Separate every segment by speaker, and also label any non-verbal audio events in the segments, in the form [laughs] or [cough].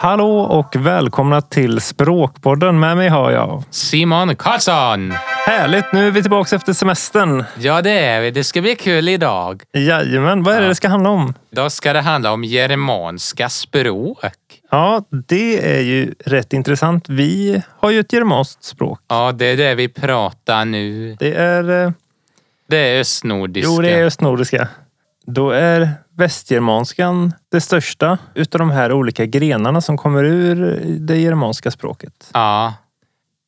Speaker 1: Hallå och välkomna till Språkpodden. Med mig har jag.
Speaker 2: Simon Karlsson!
Speaker 1: Härligt, nu är vi tillbaka efter semestern.
Speaker 2: Ja, det är vi. Det ska bli kul idag.
Speaker 1: Jajamän, vad är det det ska handla om?
Speaker 2: Då ska det handla om germanska språk.
Speaker 1: Ja, det är ju rätt intressant. Vi har ju ett germanskt språk.
Speaker 2: Ja, det är det vi pratar nu.
Speaker 1: Det är... eh,
Speaker 2: Det är östnordiska.
Speaker 1: Jo, det är östnordiska. Då är västgermanskan det största utav de här olika grenarna som kommer ur det germanska språket.
Speaker 2: Ja,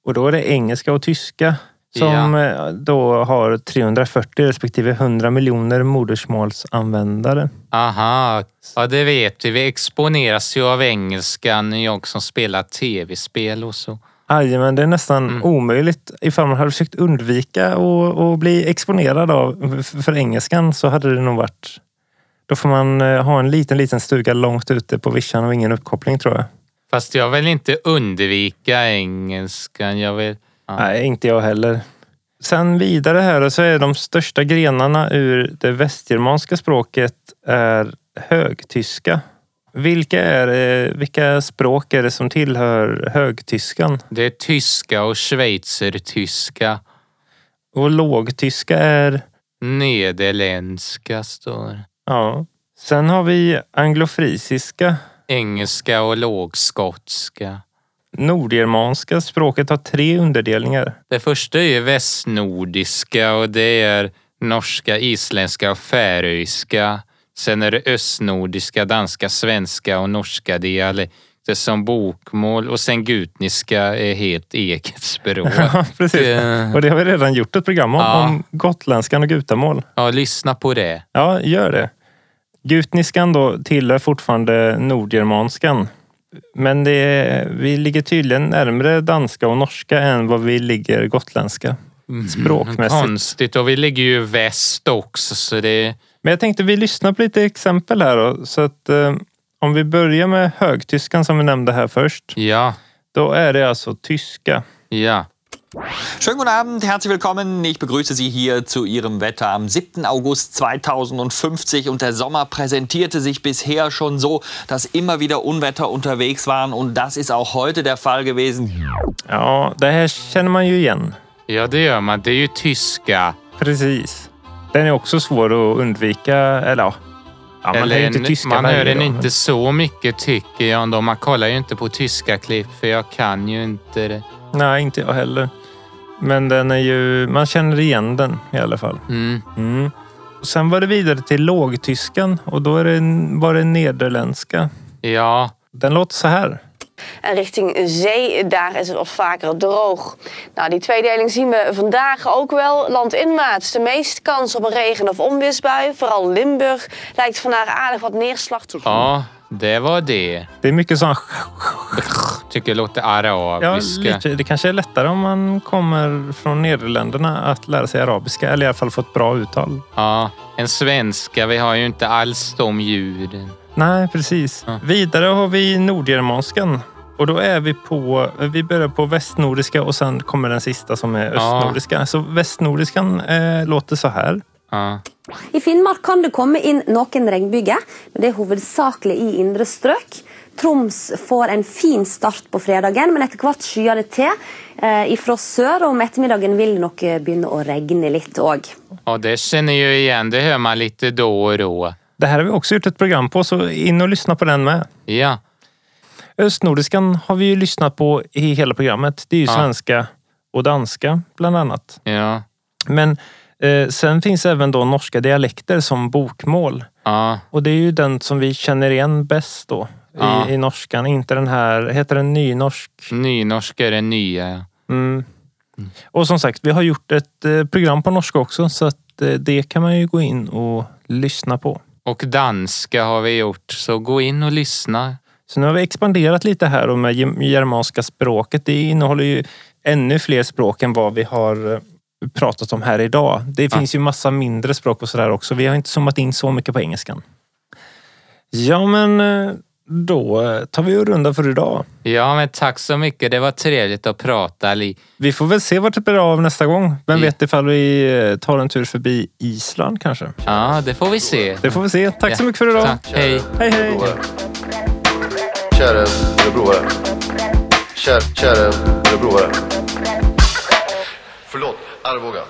Speaker 1: Och då är det engelska och tyska som eh, då har 340 respektive 100 miljoner modersmålsanvändare.
Speaker 2: aha. Ja, det vet vi. Vi exponeras ju av engelskan, jag som spelar tv-spel och så.
Speaker 1: Aj, men det är nästan
Speaker 2: Mm.
Speaker 1: omöjligt. Ifall man hade försökt undvika och, och bli exponerad av, f- för engelskan så hade det nog varit... Då får man eh, ha en liten, liten stuga långt ute på vischan och ingen uppkoppling tror jag.
Speaker 2: Fast jag vill inte undvika engelskan. Jag vill... Ja.
Speaker 1: Nej, inte jag heller. Sen vidare här så är de största grenarna ur det västgermanska språket är högtyska. Vilka, är, eh, vilka språk är det som tillhör högtyskan?
Speaker 2: Det är tyska och schweizertyska.
Speaker 1: Och lågtyska är
Speaker 2: Nederländska står det.
Speaker 1: Ja. Sen har vi anglofrisiska.
Speaker 2: engelska och lågskotska.
Speaker 1: Nordgermanska språket har tre underdelningar.
Speaker 2: Det första är ju västnordiska och det är norska, isländska och färöiska. Sen är det östnordiska, danska, svenska och norska dialekter som bokmål och sen gutniska är helt eget språk.
Speaker 1: [laughs] Ja, precis.
Speaker 2: Eh,
Speaker 1: Och det har vi redan gjort ett program om,
Speaker 2: Ja.
Speaker 1: om gotländskan och gutamål.
Speaker 2: Ja, lyssna på det.
Speaker 1: Ja, gör det. Gutniskan då tillhör fortfarande nordgermanskan. Men det är, vi ligger tydligen närmare danska och norska än vad vi ligger gotländska. Språkmässigt.
Speaker 2: Konstigt och vi ligger ju väst också så det...
Speaker 1: Men jag tänkte vi lyssnar på lite exempel här då. Så att, eh, om vi börjar med högtyskan som vi nämnde här först.
Speaker 2: Ja,
Speaker 1: Då är det alltså tyska.
Speaker 2: ja.
Speaker 3: Schönen guten Abend, herzlich willkommen. Ich begrüße Sie hier zu Ihrem Wetter am 7. August 2050. Und der Sommer präsentierte sich bisher schon so, dass immer wieder Unwetter unterwegs waren. Und das ist auch heute der Fall gewesen.
Speaker 1: Ja, det här känner man ju igen.
Speaker 2: ja, det gör man. Det är ju tyska.
Speaker 1: Precis. Den är också svår att undvika. Eller ja, ja man
Speaker 2: Eller
Speaker 1: lär ju inte
Speaker 2: en-
Speaker 1: tyska
Speaker 2: man
Speaker 1: varje
Speaker 2: hör den
Speaker 1: dag,
Speaker 2: inte så mycket tycker jag ändå. Man kollar ju inte på tyska klipp för jag kan ju inte det.
Speaker 1: men- Nej, inte jag heller. Men den är ju... Man känner igen den i alla fall.
Speaker 2: Mm.
Speaker 1: Mm. Och sen var det vidare till lågtyskan och då är det, var det nederländska.
Speaker 2: Ja,
Speaker 1: Den låter så här.
Speaker 4: En richting zee, daar is het wat vaker droog. Nou, die tweedeling zien we vandaag ook wel landinmaats. De meeste kans op een regen- of onweersbui. Vooral Limburg lijkt vandaag aardig wat neerslag te
Speaker 2: ja, det var det.
Speaker 1: Det är mycket sån...
Speaker 2: Tycker det låter
Speaker 1: Ja,
Speaker 2: arabiska.
Speaker 1: lite, det kanske är lättare om man kommer från Nederländerna att lära sig arabiska. Eller i alla fall få ett bra uttal.
Speaker 2: Ja, en svenska, vi har ju inte alls de ljuden.
Speaker 1: Nej, precis.
Speaker 2: Ja.
Speaker 1: Vidare har vi nordgermanskan. Och då är vi på, vi börjar på västnordiska och sen kommer den sista som är
Speaker 2: Ja.
Speaker 1: östnordiska. Så västnordiskan eh, låter så här.
Speaker 2: Ja.
Speaker 5: I Finnmark kan det komme inn noen regnbyger, men det er hovedsakelig i indre strøk. Troms får en fin start på fredagen, men etter hvert skyer det til. Eh, ifra sør om ettermiddagen vil det nok begynne å regne litt òg.
Speaker 2: ja, det känner jag igen. Det hör man lite då och då.
Speaker 1: Det här har vi också gjort ett program på, så in och lyssna på den med.
Speaker 2: Ja,
Speaker 1: Östnordiskan har vi ju lyssnat på i hela programmet. Det är ju
Speaker 2: Ja.
Speaker 1: svenska och danska bland annat.
Speaker 2: ja,
Speaker 1: Men eh, sen finns även då norska dialekter som bokmål.
Speaker 2: ja.
Speaker 1: Och det är ju den som vi känner igen bäst då
Speaker 2: Ja.
Speaker 1: i, i norskan. Inte den här, heter den nynorsk?
Speaker 2: Nynorska är det nya. ja.
Speaker 1: Mm. Och som sagt, vi har gjort ett eh, program på norska också så att eh, det kan man ju gå in och lyssna på.
Speaker 2: Och danska har vi gjort, så gå in och lyssna.
Speaker 1: Så nu har vi expanderat lite här och med gem- germanska språket. Det innehåller ju ännu fler språk än vad vi har eh, pratat om här idag. Det finns ju massa mindre språk och sådär också. Vi har inte zoomat in så mycket på engelskan. Ja, men eh, då eh, tar vi och runda för idag.
Speaker 2: Ja, men tack så mycket. Det var trevligt att prata. Li.
Speaker 1: Vi får väl se vart det blir av nästa gång. Vem
Speaker 2: Ja.
Speaker 1: vet ifall vi eh, tar en tur förbi Island kanske.
Speaker 2: Ja, det får vi se.
Speaker 1: Det får vi se. Tack så
Speaker 2: Ja,
Speaker 1: mycket för idag.
Speaker 2: Tack. Hej.
Speaker 1: Hej, hej.
Speaker 4: lopen.
Speaker 6: käre örebroare. Kär, käre örebroare. Förlåt, Arboga.